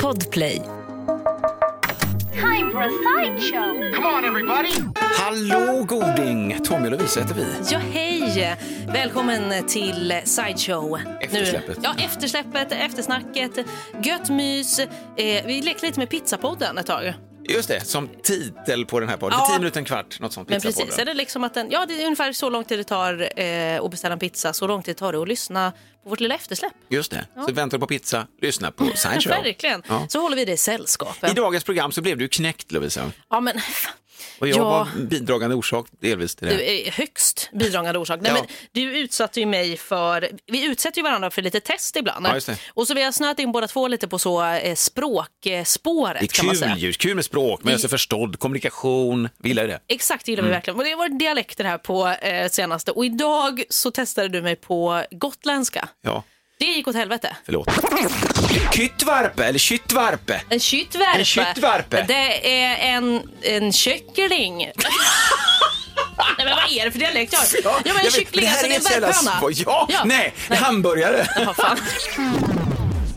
Podplay. Time for a sideshow. Come on, everybody! Hallå goding! Tommy och Lovisa heter vi. Ja, hej! Välkommen till Sideshow. Eftersläppet. Nu, ja, eftersläppet, eftersnacket, gött mys. Eh, vi leker lite med pizzapodden ett tag. Just det, som titel på den här podden. Ja. Tio minuter, en kvart, något sånt. Men pizzapodden. precis, är det liksom att den, ja, det är ungefär så lång tid det tar eh, att beställa en pizza, så lång tid det tar det att lyssna på vårt lilla eftersläpp. Just det. Så väntar du på pizza, lyssna på Science Show. Verkligen. Ja. Så håller vi det i sällskapen. I dagens program så blev du knäckt Lovisa. Ja, men Och jag Ja. var bidragande orsak delvis till det. du är högst bidragande orsak. Nej, Ja. men du utsatte ju mig för, vi utsätter ju varandra för lite test ibland. Ja, just det. Och så vi har snöat in båda två lite på så eh, språkspåret Det är kan man kul säga. ju, kul med språk, men jag är så förstådd, kommunikation, vi gillar ju det. Exakt, det gillar Mm. vi verkligen. Men det var dialekter här på eh, senaste. Och idag så testade du mig på gotländska. Ja, Det gick åt helvete. förlåt. Kyttvarpe, eller kyttvarpe. En kyttvarpe. En kyttvarpe. Det är en, en kyckling. Nej men vad är det för dialekt jag har? Ja, men en jag vet, kyckling, det här alltså det är en ett jävla värphöna. spår. Ja, nej, hamburgare. Ja, fan.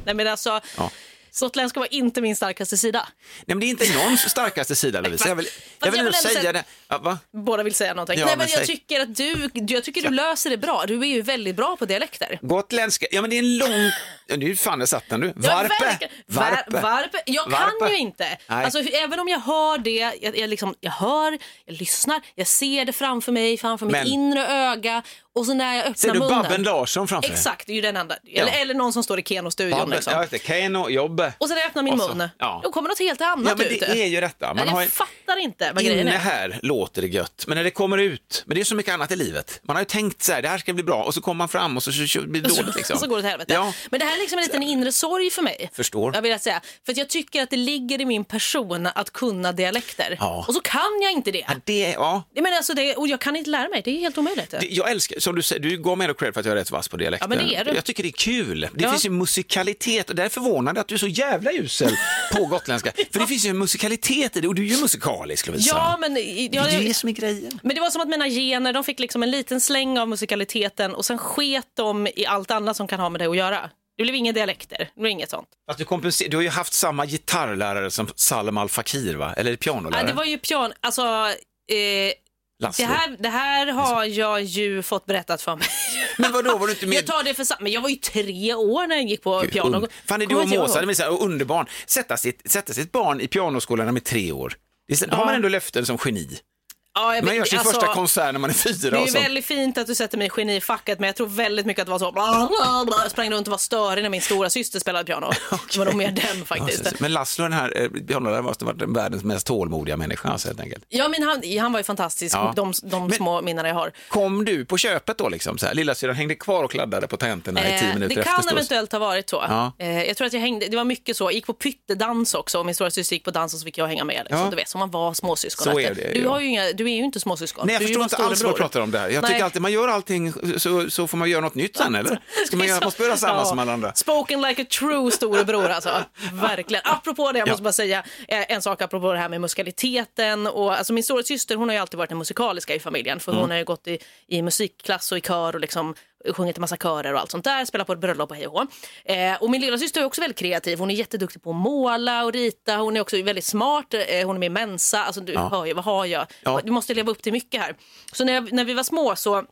Nej men alltså, Ja. gotländska var inte min starkaste sida. Nej, men det är inte någons starkaste sida Lovisa. Jag vill, jag jag vill ändå vill ändå säga säga- det. Ja, va? Båda vill säga någonting. Ja, Nej men men jag säg. tycker att du, jag tycker du löser det bra. Du är ju väldigt bra på dialekter. Gotländska, ja men det är en lång... Ja, nu fan där satt den du. Ja, Varpe! verkligen. Var, varpe. Jag kan Varpe. ju inte. Nej. Alltså, hur- även om jag hör det, jag, jag, liksom, jag hör, jag lyssnar, jag ser det framför mig, framför Men- mitt inre öga och så när jag öppnar Ser du munnen. Babben Larsson framför dig? Exakt, det är ju den enda. Eller, Ja. eller någon som står i Keno-studion. Babben, liksom. jag vet inte, Keno, Jobbe. Och sen när jag öppnar min Och så- mun, ja. då kommer något helt Ja annat men ut. det är ju detta. Man jag har ju... fattar inte vad grejen Inne är. här låter det gött, men när det kommer ut, men det är så mycket annat i livet. Man har ju tänkt så här, det här ska bli bra och så kommer man fram och så, så, så blir det dåligt liksom. Så går det åt helvete. Ja, Men det här är liksom en liten inre sorg för mig. Förstår. Jag vill att säga. För att jag tycker att det ligger i min person att kunna dialekter. Ja. Och så kan jag inte det. ja, det, ja. Nej, Men alltså det, och jag kan inte lära mig, det är helt omöjligt. Det- Jag älskar, som du säger, du gav mig då cred för att jag är rätt vass på dialekten. Ja, men det är du. Jag tycker det är kul. Det Ja. finns ju musikalitet och det är förvånande att du är så jävla usel på gotländska. För det finns ju en musikalitet i det och du är ju musikalisk Lovisa. ja, men, i- Det ja, är ju det jag, som är grejen. men det var som att mina gener, de fick liksom en liten släng av musikaliteten och sen sket de i allt annat som kan ha med det att göra. Det blev inga dialekter, det blev inget sånt. Fast du, kompenser- du har ju haft samma gitarrlärare som Salem Al Fakir, va? Eller Ja, pianolärare? det var ju pian, alltså eh, Laszlo. det, här, det här har Alltså. jag ju fått berättat för mig. Men vadå, var du inte med? Jag tar det för sant, men jag var ju tre år när jag gick på Gud, piano. un- Fanny, du Kommer och inte Måsa, ihåg. det är så här, underbarn. Sätta sitt, sätta sitt barn i pianoskolan när man är tre år. Det är, så- Då har man ändå löften som geni. Ja, jag Man vet- gör sin alltså, första konsert när man är fyra Det är och ju sånt. väldigt fint att du sätter mig i genifacket men jag tror väldigt mycket att det var så bla, bla, bla. Jag sprang runt och var störig när min stora syster spelade piano. Det var nog mer den Ja, faktiskt. precis. men Laszlo, den här eh, pianoläraren, måste ha varit världens mest tålmodiga människa alltså, helt enkelt. Ja, men han, han var ju fantastisk, Ja. de, de Men- små minnena jag har. Kom du på köpet då liksom? Så här, lillasyrran hängde kvar och kladdade på tanterna i tio Eh, minuter det kan efter stås. eventuellt ha varit så. Ja. Eh, jag tror att jag hängde, det var mycket så. Jag gick på pyttedans också och min stora syster gick på dans och så fick jag hänga med. Liksom. Ja. Du vet, som man var småsyskon. Så efter. är det, du, ja. har ju inga, du är ju inte småsyskon. Nej, jag du är ju förstår bara inte alls vad du storebror. pratar om det här. Jag Nej. tycker alltid man gör allting så, så får man göra något nytt sen, eller? Ska man, göra, man ska göra samma Ja. som alla andra? Spoken like a true storebror alltså. Verkligen. Apropå det, jag måste bara säga eh, en sak apropå det här med musikaliteten. Och, alltså, min stora syster hon har ju alltid varit den musikaliska i familjen. För Mm. hon har ju gått i, i musikklass och i kör och liksom sjungit en massa körer och allt sånt där. Spelat på ett bröllop och hej och hå. eh, Och min lilla syster är också väldigt kreativ. Hon är jätteduktig på att måla och rita. Hon är också väldigt smart. Eh, Hon är med i Mensa. Alltså, du hör ju, vad har jag? Ja. Du måste leva upp till mycket här. Så när, jag, när vi var små så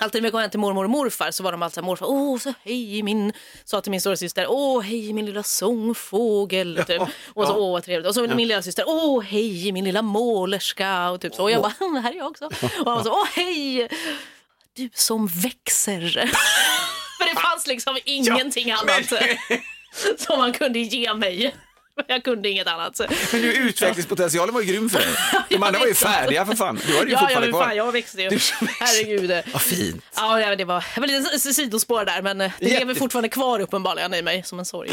Alltid när vi kom hem till mormor och morfar så var de alltid så här, morfar, åh så hej min, sa till min stora syster, åh hej min lilla sångfågel, typ. och så ja. åh vad trevligt, och så min lilla syster, åh hej min lilla målerska, och typ så, och jag bara, här är jag också, och han så, åh hej, du som växer. För det fanns liksom ingenting annat som man kunde ge mig. Jag kunde inget annat. Men du, utvecklingspotentialen var ju grym för dig. De Ja, andra var ju visst. färdiga för fan. Du hade ju Ja, ja, fortfarande men kvar. fan, jag växte ju. Du som växer. Herregud. Vad fint. Ja, ja, det var, det var lite s- sidospår där, men eh, det Jätte- lever fortfarande kvar uppenbarligen i mig som en sorg.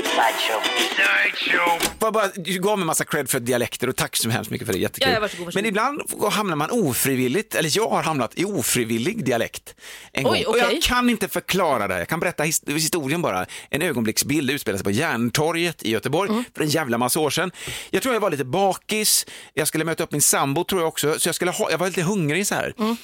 Sideshow. Får jag bara, du gav mig massa cred för dialekter och tack så hemskt mycket för det, jättekul. Ja, ja, varsågod, varsågod. Men ibland f- hamnar man ofrivilligt, eller jag har hamnat i ofrivillig dialekt en Oj, gång. Och okej. jag kan inte Mm. förklara det här, jag kan berätta his- historien bara. En ögonblicksbild utspelar sig på Järntorget i Göteborg för en jävla jävla massa år sedan. Jag tror jag var lite bakis, jag skulle möta upp min sambo tror jag också, så jag, skulle ha, jag var lite hungrig så här. Mm.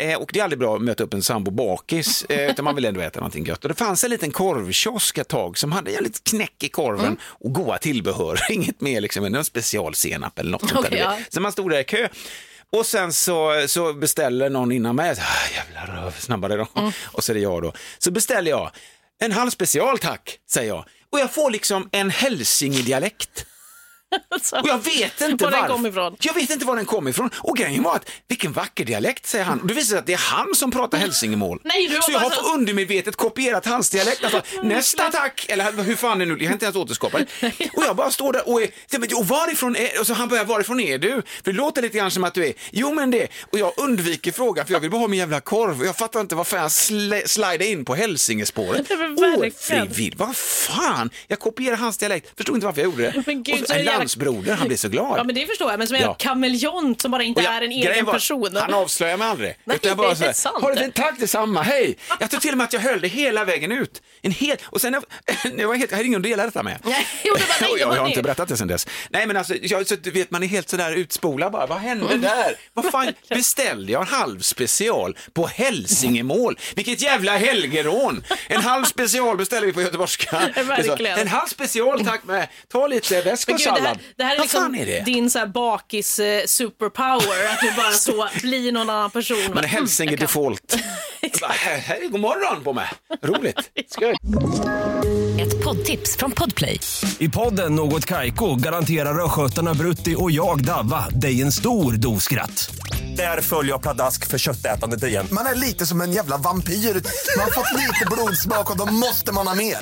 Eh, och det är aldrig bra att möta upp en sambo bakis, eh, utan man vill ändå äta någonting gött. Och det fanns en liten korvkiosk ett tag som hade en liten knäck i korven Mm. och goda tillbehör, inget mer liksom, än någon specialsenap eller något sånt där. Okej, du vet. ja. Så man stod där i kö. Och sen så, så beställer någon innan mig, så här, jävla röv, snabbare då. Mm. Och så är det jag då. Så beställer jag, en halv special tack, säger jag. Och jag får liksom en hälsingedialekt. Alltså, Och jag vet inte Var den varf- kom ifrån. Jag vet inte var den kom ifrån. Och grejen var att, vilken vacker dialekt, säger han. Och det visar sig att det är han som pratar hälsingemål. Nej, du har så jag har bara- på undermedvetet kopierat hans dialekt. Alltså, nästa tack! Eller hur fan är det nu? Jag har inte ens återskapat det. Och jag bara står där och, är, Ja, men, och varifrån är Och så han börjar, varifrån är du? För det låter lite grann som att du är, jo men det. Och jag undviker frågan för jag vill bara ha min jävla korv. Och jag fattar inte varför jag sl- slidade in på hälsingespåret. Nej, men verkligen. Ofrivilligt, vad fan! Jag kopierar hans dialekt, förstod inte varför jag gjorde det. Men gud, och så så, är det en jävla- landsbroder, han blir så glad. Ja, men det förstår jag. Men som är Ja. en kameleont som bara inte Och jag- är en grejen egen var att person. Han avslöjar mig aldrig. Nej, utan jag bara så det är sant. här, har du fint, tack detsamma, hej. Jag tror till och med att jag höll det hela vägen ut. En hel, och sen, jag, jag, var helt, jag hade ingen att dela detta med. Nej, jo, det var- nej, Och det jag, var jag har inte det. berättat det sen dess. Nej men alltså, jag, så, du vet, man är helt sådär utspolad bara, vad hände där? Vad fan, beställde jag en halv special på hälsingemål? Vilket jävla helgerån! En halv special beställer vi på göteborgska. Det är så, Verkligen. En halv special tack med, ta lite väsk Men och gud, det, sallad. här, det här är vad liksom fan är det? din så här bakis eh, superpower, att du bara så blir någon annan person. Man är Mm, hälsinge jag kan- default. Bara, här, här är god morgon på mig. Roligt. Skoj. Ett poddtips från Podplay. I podden Något Kaiko garanterar östgötarna Brutti och jag, Davva, dig en stor dos skratt. Där följer jag pladask för köttätandet igen. Man är lite som en jävla vampyr. Man har fått lite blodsmak och då måste man ha mer.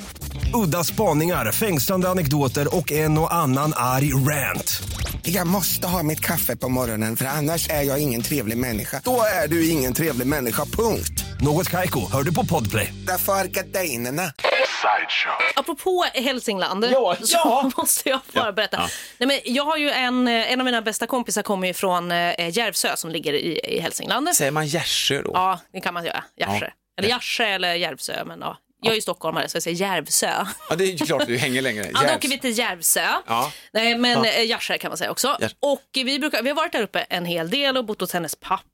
Udda spaningar, fängslande anekdoter och en och annan arg rant. Jag måste ha mitt kaffe på morgonen för annars är jag ingen trevlig människa. Då är du ingen trevlig människa, punkt. Något Kaiko, hör du på Podplay. Därför arkadeinerna. Sideshow. Apropå Hälsingland Ja, så ja. måste jag bara berätta. Nej, men jag har ju en, eh, en av mina bästa kompisar kommer ju från eh, Järvsö som ligger i, i Hälsingland. Säger man Gärsö då? Ja, det kan man göra. Järvsö. Eller Järvsö eller Järvsö. Men, ja. Jag är ju stockholmare så jag säger Järvsö. Ja, det är ju klart att du hänger längre. Ja, då Järvs- åker vi till Järvsö. Ja. Nej, men ja. Järvsö kan man säga också. Järvsö. Och vi, brukar, vi har varit där uppe en hel del och bott hos hennes pappa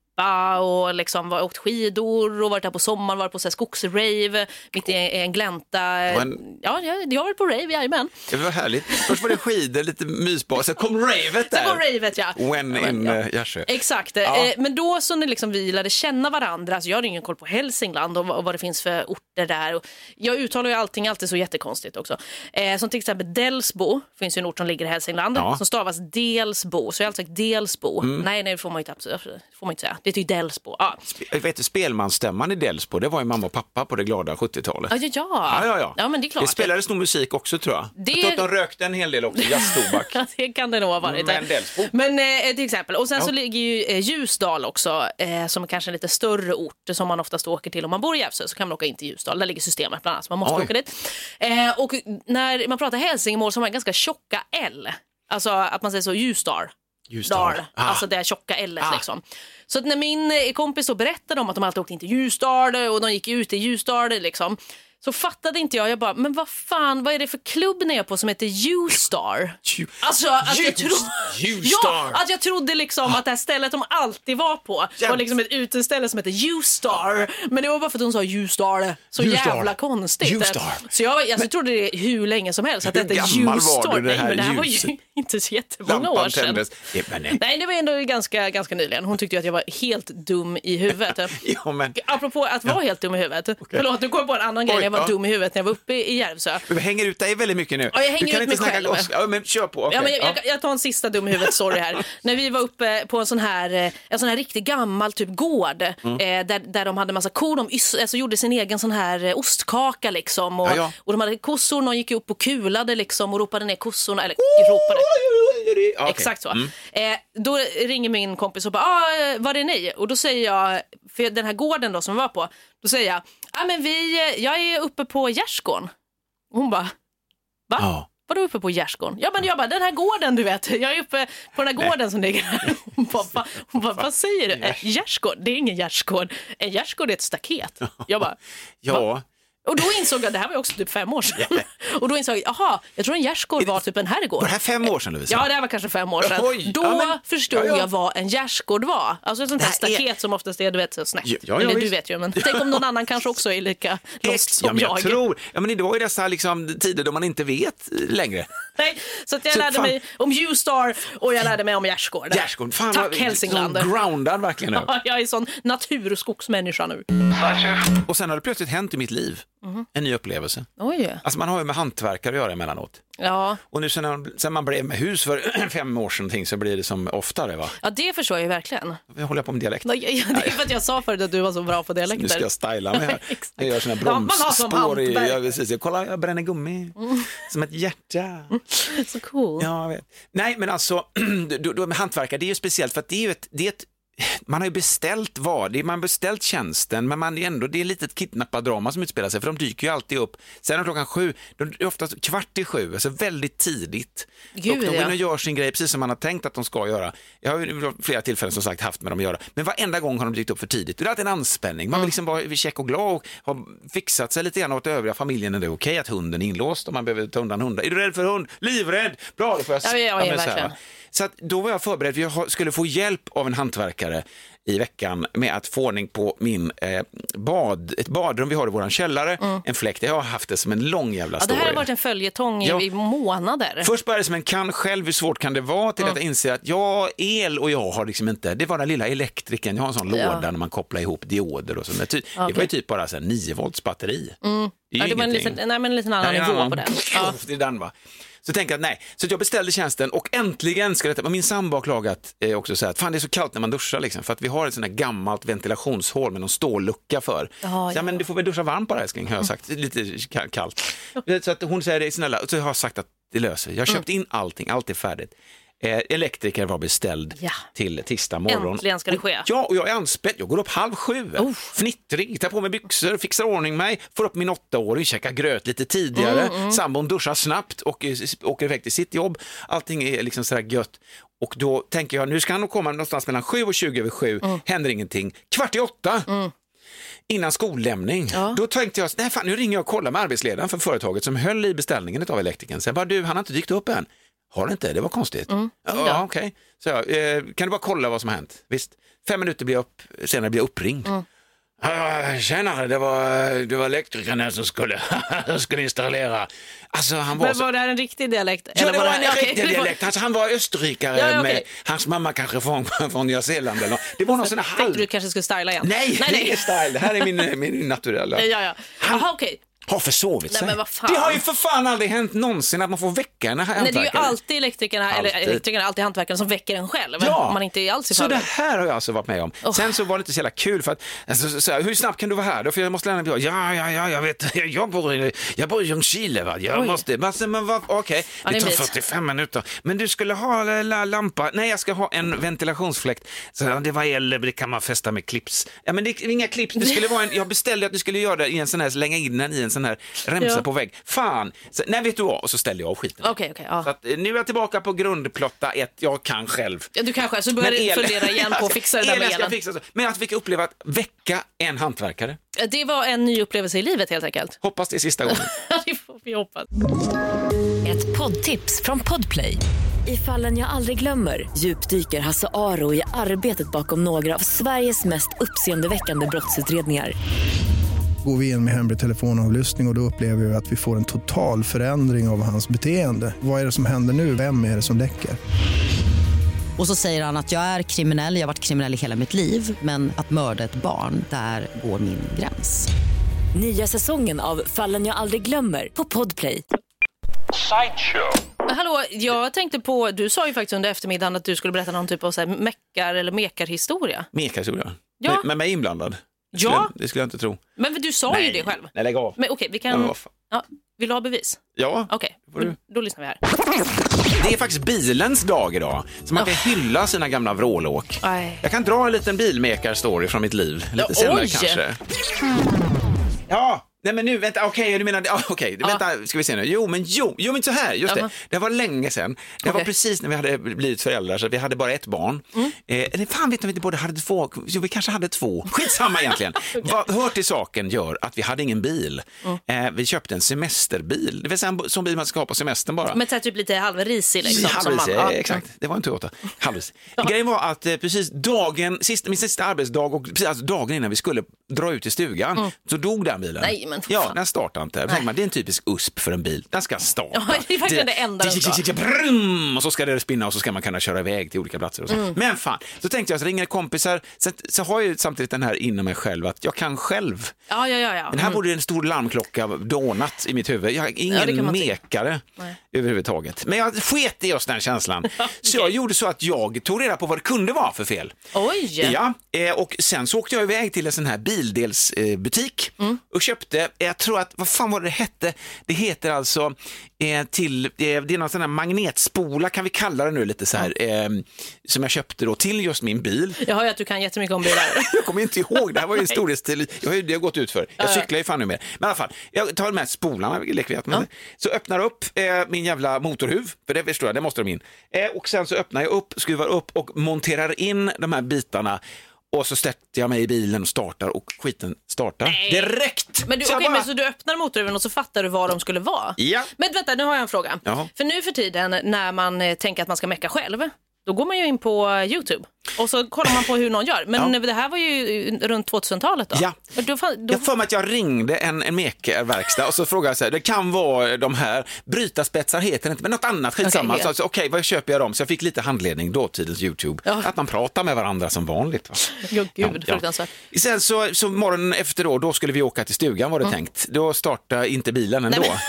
och liksom var, åkt skidor och varit där på sommaren, varit på så här skogsrave mitt i en, en glänta. Men- Ja, jag, jag har varit på rave, jajamän. Det var härligt. Först var det skidor, lite mysbar, sen kom ravet Sen där. var ravet ja. When Ja, men, in ja. eh, Gärsö. Exakt. Ja. Eh, Men då så när liksom vi lärde känna varandra, alltså jag hade ingen koll på Hälsingland och vad och vad det finns för orter där. Och jag uttalar ju allting alltid så jättekonstigt också. Eh, som till exempel Delsbo, finns ju en ort som ligger i Hälsingland, Ja. Mm. som stavas Delsbo. Så jag har alltid sagt Delsbo. Nej, nej, det får man ju inte, absolut, får man inte säga. Det är ju Delsbo. Ja, Jag vet du, spelmansstämman i Delsbo, det var ju mamma och pappa på det glada 70-talet. ja, ja. Ja, ja, ja. men det är klart. Det spelades nog musik också tror jag. Det- Jag tror att de rökte en hel del också, jazztobak. Ja, det kan det nog ha varit. Mm, Men Delsbo. Men, eh, till exempel. Och sen så ligger ju eh, Ljusdal också, eh, som är kanske en lite större ort som man oftast åker till. Om man bor i Järvsö så kan man åka in till Ljusdal. Där ligger systemet bland annat, så man måste Oj. åka dit. Eh, och när man pratar hälsingemål så har man ganska tjocka L. Alltså att man säger så, Ljusdal. Ljusdal. Dal, Ah. alltså det här tjocka L Ah. liksom. Så att när min eh, kompis då berättade om att de alltid åkte in till Ljusdal och de gick ut i Ljusdal liksom, så fattade inte jag. Jag bara, men vad fan, vad är det för klubb ni är på som heter Ljusdal? Ju- Alltså att jag, tro... Ljusdal. ja, att jag trodde liksom att det här stället de alltid var på var Jämt. liksom ett uteställe som heter Ljusdar. Men det var bara för att hon sa Ljusdar. Så Ljusdal. jävla konstigt. Ljusdal. Så jag, alltså, trodde det hur länge som helst att det Hur hette gammal var Ljusdal. du det Nej, här men det här var ju ljuset? inte så jättemånga alltså, år Lampan sedan. tändes. Ja, men, eh, nej. Nej, det var ändå ganska, ganska nyligen. Hon tyckte ju att jag var helt dum i huvudet. Ja, men... Apropå att vara helt dum i huvudet. Förlåt, nu kom jag på en annan grej Oj, när jag var ja. dum i huvudet när jag var uppe i Järvsö. Du hänger ut dig väldigt mycket nu. Ja, jag hänger du kan ut inte mig snacka själv. loss. Ja, men kör på. Ja, men Okej, jag, jag, jag tar en sista dum i huvudet, sorry här. När vi var uppe på en sån här, eh, en sån här riktigt gammal typ gård Mm. eh, där, där de hade massa kor, de ys- alltså gjorde sin egen sån här eh, ostkaka liksom. Och, Ja, ja. och de hade kossor, någon gick upp och kulade liksom och ropade ner kossorna, eller ropade. Ja, Mm. okej. Exakt så. Eh, då ringer min kompis och bara, ah, eh, var är ni? Och då säger jag, för den här gården då som vi var på, då säger jag, ah, men vi, eh, jag är uppe på gärdsgården. Och Hon bara, va? Ja. Vadå uppe på gärdsgården? Ja men jag bara, den här gården du vet, jag är uppe på den här gården som ligger här. Hon bara, "Va?" hon bara vad säger Eh, du? En gärdsgård? Det är ingen gärdsgård. En gärdsgård är ett staket. Jag bara, Ja, Och då insåg jag, det här var ju också typ fem år sedan. Och då insåg jag, jaha, jag tror en gärdsgård var typ en herrgård. Var det här fem år sedan Lovisa? Ja, det här var kanske fem år sedan. Oj, då ja, men- förstod ja, ja. jag vad en gärdsgård var. Alltså ett sånt här Det här är- staket som oftast är du vet, så snett. Ja, ja, Eller du visst. vet ju, men tänk om någon annan kanske också är lika lost ja, som men jag, jag. tror, ja, men det var ju dessa liksom, tider då man inte vet längre. Nej, så att jag Så lärde fan- mig om U-star och jag lärde mig om gärdsgård. Gärdsgård, fan Tack vad- Hälsingland. sån groundad verkligen nu. Ja, jag är sån natur och skogsmänniska nu. Such a Och sen har det plötsligt hänt i mitt liv, Mhm. en ny upplevelse. Oj. Alltså man har ju med hantverkare att göra emellanåt. Ja. Och nu sen, sen man blev med hus för fem år sedan någonting, så blir det som oftare va? ja, det förstår jag ju verkligen. Jag håller på med dialekt. Ja, ja, Det är för att jag sa förut att du var så bra på dialekter. Nu ska jag styla mig här. Exakt. Jag gör såna här Ja, man har som bromsspår. i, hantverkare. Mm. ja, precis. Jag, kolla, jag bränner gummi. Som ett hjärta. Så cool. Ja, jag vet. Nej, men alltså, då, då med hantverkare, det är ju speciellt för att det är ju ett, det är ett man har ju beställt vad, det är- man har beställt tjänsten, men man är ändå, det är lite ett kidnappardrama som utspelar sig, för de dyker ju alltid upp. Sen är klockan sju, de är oftast kvart i sju, alltså väldigt tidigt. Gud, och de ja. går in och gör sin grej precis som man har tänkt att de ska göra. Jag har ju vid flera tillfällen som sagt haft med dem att göra, men varenda gång har de dykt upp för tidigt. Det är alltid en anspänning, man vill liksom vara check och glad och ha fixat sig lite grann åt övriga familjen. Är det okej att hunden är inlåst om man behöver ta undan hundar? Är du rädd för hund? Livrädd! Bra, då får jag Ja, ja, ja, men så här, verkligen. va. Så att då var jag förberedd, för jag har- skulle få hjälp av en hantverkare i veckan med att få ordning på min eh, bad, ett badrum vi har i våran källare, en fläkt. Jag har haft det som en lång jävla Mm. Ja, det story. här har varit en följetong i, Ja. i månader. Först började det som en kan själv, hur svårt kan det vara, till att jag inser att jag, el och jag har liksom inte, det var den lilla elektrikern, jag har en sån låda när man kopplar ihop dioder och sånt. Det, ty- det var ju typ bara så här 9 volts batteri. Det är Ja, ju det var en ingenting. liten, nej, men en liten annan Nej, en nivå annan. på den. Ja. Det är den va. Så tänkte jag att nej, så att jag beställde tjänsten och äntligen ska detta, men min sambo har klagat eh, också så här att fan det är så kallt när man duschar liksom för att vi har ett sånt här gammalt ventilationshål med någon stållucka för. så, ja. men du får väl duscha varmt bara älskling har jag sagt, Mm. lite ka- kallt. Eh, Så att hon säger det snälla, så jag har sagt att det löser sig. Jag har köpt Mm. in allting, allt är färdigt. Eh, elektriker var beställd Ja. till tisdag morgon. Äntligen ska det ske. Ja, och jag är anspänd. Jag går upp halv sju, fnittrig, tar på mig byxor, fixar ordning mig, får upp min åttaåring, käkar gröt lite tidigare, Mm, sambon duschar snabbt och eh, s- åker iväg till sitt jobb. Allting är liksom sådär gött. Och då tänker jag, nu ska han nog komma någonstans mellan sju och tjugo över sju, Mm. händer ingenting. Kvart i åtta, innan skollämning, då tänkte jag, nej fan, nu ringer jag och kollar med arbetsledaren för företaget som höll i beställningen av elektrikern. Sen bara, du, han har inte dykt upp än. Har han inte? Det var konstigt. Mm. Ja, ja, okej. Så jag, eh, kan du bara kolla vad som har hänt? Visst. Fem minuter blir jag upp, senare blir jag uppringd. Mm. Ah, Tjena, det var, det var elektrikern här som skulle, som skulle installera. Alltså han var Men så... var det här en riktig dialekt? Ja, det var en okej, riktig det var- dialekt. Alltså, han var österrikare Ja, ja, med okej. hans mamma kanske från, från Nya Zeeland eller något. Det var någon sån här halv... Tänkte du kanske skulle styla igen? Nej, nej, det nej. är style. Det här är min, min naturella. Ja, ja. Jaha, okej. Har försovit Nej, sig. men vad fan. Det har ju för fan aldrig hänt någonsin att man får väcka en Nej, det är ju hantverkare. alltid elektrikerna, eller Alltid. elektrikerna, alltid hantverkarna som väcker en själv. Om man inte är alls i så det förväg. här har jag alltså varit med om. Sen så var det inte så jävla kul för att, alltså, så, så här, hur snabbt kan du vara här då? För jag måste lämna bilen. Ja, ja, ja, jag vet, jag bor i, jag bor i Ljungskile va. Jag måste, men, alltså, men vad, okej, det är det en tar bit. 45 minuter. Men du skulle ha la, la, lampa, nej jag ska ha en ventilationsfläkt. Så, ja, det var el, det kan man fästa med clips. Ja men det är inga clips, det skulle vara en, jag beställde att du skulle göra det i en sån här, slänga in den i en sån här remsa Ja. på vägg. Fan, så, nej vet du vad, och så ställde jag av skiten. Okej, okej. ja. Så att, eh, nu är jag tillbaka på grundplotta ett, jag kan själv. Ja, du kanske, så börjar Men du el- fundera igen på att fixa det där Elen med ska elen. fixas. Men att vi fick uppleva att väcka en hantverkare. Det var en ny upplevelse i livet helt enkelt. Hoppas det är sista gången. det får vi hoppas. Ett poddtips från Podplay. I fallen jag aldrig glömmer djupdyker Hasse Aro i arbetet bakom några av Sveriges mest uppseendeväckande brottsutredningar. Går vi in med hemlig telefonavlyssning och, och då upplever vi att vi får en total förändring av hans beteende. Vad är det som händer nu? Vem är det som läcker? Och så säger han att jag är kriminell, jag har varit kriminell i hela mitt liv men att mörda ett barn, där går min gräns. Nya säsongen av Fallen jag aldrig glömmer på Podplay. sideshow. Men Hallå, jag tänkte på, du sa ju faktiskt under eftermiddagen att du skulle berätta någon typ av så här meckar eller mekarhistoria. Mekahistoria. Ja. Med, med mig inblandad. Det skulle Ja. jag- Det skulle jag inte tro. Men du sa ju det själv. Nej, lägg av. Men okej, vi Ja, men kan... vad fan. Ja, vill du ha bevis? Ja, Okej, det får du. då, då lyssnar vi här. det är faktiskt bilens dag idag. Så man kan hylla sina gamla vrålåk. Aj. Jag kan Mm. dra en liten bilmekar-story från mitt liv lite senare oj. kanske. Ja, Nej men nu, vänta, okej, du menar, ah, okej, vänta, ska vi se nu. Jo men jo, jo men så här, just Jaha. det. Det var länge sedan. Det var Okej. Mm. precis när vi hade blivit föräldrar, så vi hade bara ett barn. Eh, eller fan vet ni om vi inte både hade två, jo vi kanske hade två. Skitsamma egentligen. Vad hör till saken gör att vi hade ingen bil. Mm. Eh, vi köpte en semesterbil, det vill säga en bo- sån bil man ska ha på semestern bara. Men så här typ lite halvrisig liksom. som Halvvis, man- eh, ja. exakt. Det var en Toyota. Halvvis. Grejen var att eh, precis dagen, sista, min sista arbetsdag och precis, alltså dagen innan vi skulle dra ut i stugan, så dog den bilen. Mm. Nej, men för ja, fan. den startade inte. Då tänker Man, det är en typisk USP för en bil. Den ska starta. Ja, det är verkligen det enda den ska. Brum! Och så ska det spinna och så ska man kunna köra iväg till olika platser. Och så. Mm. Men fan, så tänkte jag, så ringer kompisar, så, så har jag ju samtidigt den här inom mig själv att jag kan själv. ja, ja, ja. ja. Men här borde en stor larmklocka dånat i mitt huvud. Jag är Mm. Ja, det ingen kan man tycka. mekare överhuvudtaget. Men jag sket i just den känslan. Så jag gjorde så att jag tog reda på vad det kunde vara för fel. Oj! Ja, eh, och sen så åkte jag iväg till en sån här bildelsbutik Mm. och köpte, eh, jag tror att, vad fan var det det hette? Det heter alltså eh, till, eh, det är någon sån här magnetspola kan vi kalla det nu lite så här, eh, som jag köpte då till just min bil. Jag hör ju att du kan jättemycket om bilar. Jag kommer inte ihåg, det här var ju historiskt till, jag har ju det har gått ut för. Jag cyklar ju fan nu mer. Men i alla fall, jag tar med spolarna, vilket leker vi att man- Så öppnar upp eh, min jävla motorhuv, för det förstår jag, det måste de in. Eh, och sen så öppnar jag upp, skruvar upp och monterar in de här bitarna. Och så sätter jag mig i bilen och startar och skiten startar direkt. Men du, Så jag okej, bara- men så du öppnar motorhuven och så fattar du var de skulle vara? Ja. Men vänta, nu har jag en fråga. Jaha. För nu för tiden när man eh, tänker att man ska mecka själv, då går man ju in på eh, Youtube och så kollar man på hur någon gör. Men det här var ju eh, runt 2000-talet då. Ja. Och Då, fan- då, Jag får mig att jag ringde en, en mekerverkstad och så frågade jag så här, det kan vara de här, brytarspetsar heter det inte, men något annat, skitsamma. Okej, Okay, ja. så, Okej, vad köper jag dem? Så jag fick lite handledning, dåtidens YouTube, Ja. att man pratar med varandra som vanligt. Va? Ja, gud, fruktansvärt. Sen så, så morgonen efter då, då skulle vi åka till stugan var Mm. det tänkt. Då startade inte bilen ändå. men-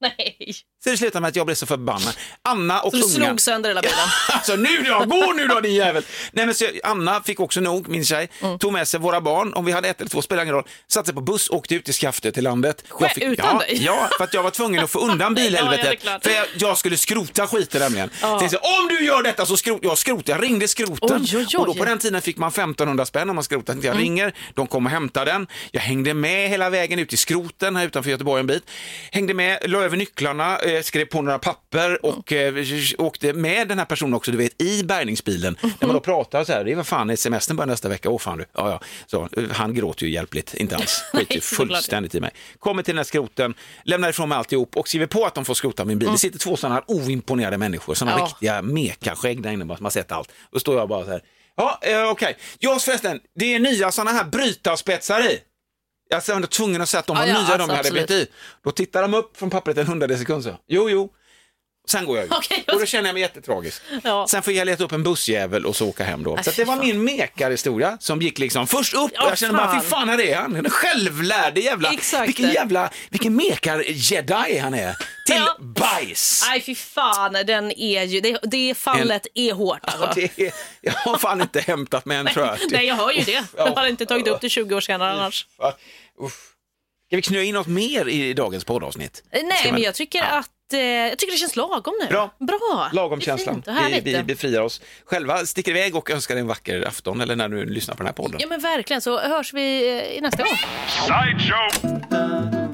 nej. Så det slutade med att jag blev så förbannad. Anna och Så du ungarna- slog sönder hela bilen. Alltså nu då, gå nu då din jävel! Nej men så, Anna fick också nog, min tjej, Mm. tog med sig våra barn, om vi hade ett eller två spelar ingen roll, satte sig på buss och åkte ut till Skafte till landet. Jag fick, utan ja, dig? Ja, för att jag var tvungen att få undan Ja, ja, det är bilhelvetet. klart. för jag, jag skulle skrota skiten nämligen. Tänkte Så, om du gör detta så skrot, jag skrotar, jag ringde skroten. Oj, oj, oj. Och då på den tiden fick man 1500 spänn om man skrotade. Jag ringer, de kom och hämtade den. Jag hängde med hela vägen ut till skroten här utanför Göteborg en bit. Hängde med, la över nycklarna, eh, skrev på några papper och eh, åkte med den här personen också, du vet, i bärgningsbilen. När man då pratar så här, det är vad fan, är semestern börjar nästa vecka, åh fan du. Ja, ja. Så, eh, han gråter ju hjälpligt, inte alls. Skiter ju såklart. fullständigt i mig. Kommer till den här skroten, lämnar ifrån mig alltihop och skriver på att de får skrota min bil. Det sitter två sådana här oimponerade människor, sådana Mm. Ja. riktiga riktiga mekaskägg där inne bara, som har sett allt. Då står jag bara så här. Ja, eh, okej. Ja, förresten, det är nya sådana här brytarspetsar i. Jag var ändå tvungen att säga att de Ja, var ja, nya alltså, de jag hade absolut. blivit i. Då tittar de upp från pappret en hundradels sekund så. Jo, jo. Sen går jag ut. Okej, och då känner jag mig jättetragisk. Ja. Sen får jag leta upp en bussjävel och så åka hem då. Äh, Så att fy det var fan. min mekarhistoria som gick liksom först upp Ja, och jag kände bara, fan. fy fan här är han. Den självlärde jävla, Exakt. vilken jävla, vilken mekar-jedi han är. Till Ja. bajs. Nej, fy fan. Den är ju, det, det fallet är hårt. Alltså. Ja, det är, jag har fan inte hämtat med en tror jag. Nej, jag hör ju det. ja. Jag hade inte tagit upp det 20 år senare annars. Uff. Uff. Ska vi knö in något mer i dagens poddavsnitt? Ska Nej, man- men jag tycker Ja. att eh, jag tycker det känns lagom nu. Bra. Bra. Lagom Det är känslan. fint och Vi, härligt. vi befriar oss själva, sticker iväg och önskar dig en vacker afton eller när du lyssnar på den här podden. Ja men verkligen, så hörs vi eh, i nästa gång. Sideshow.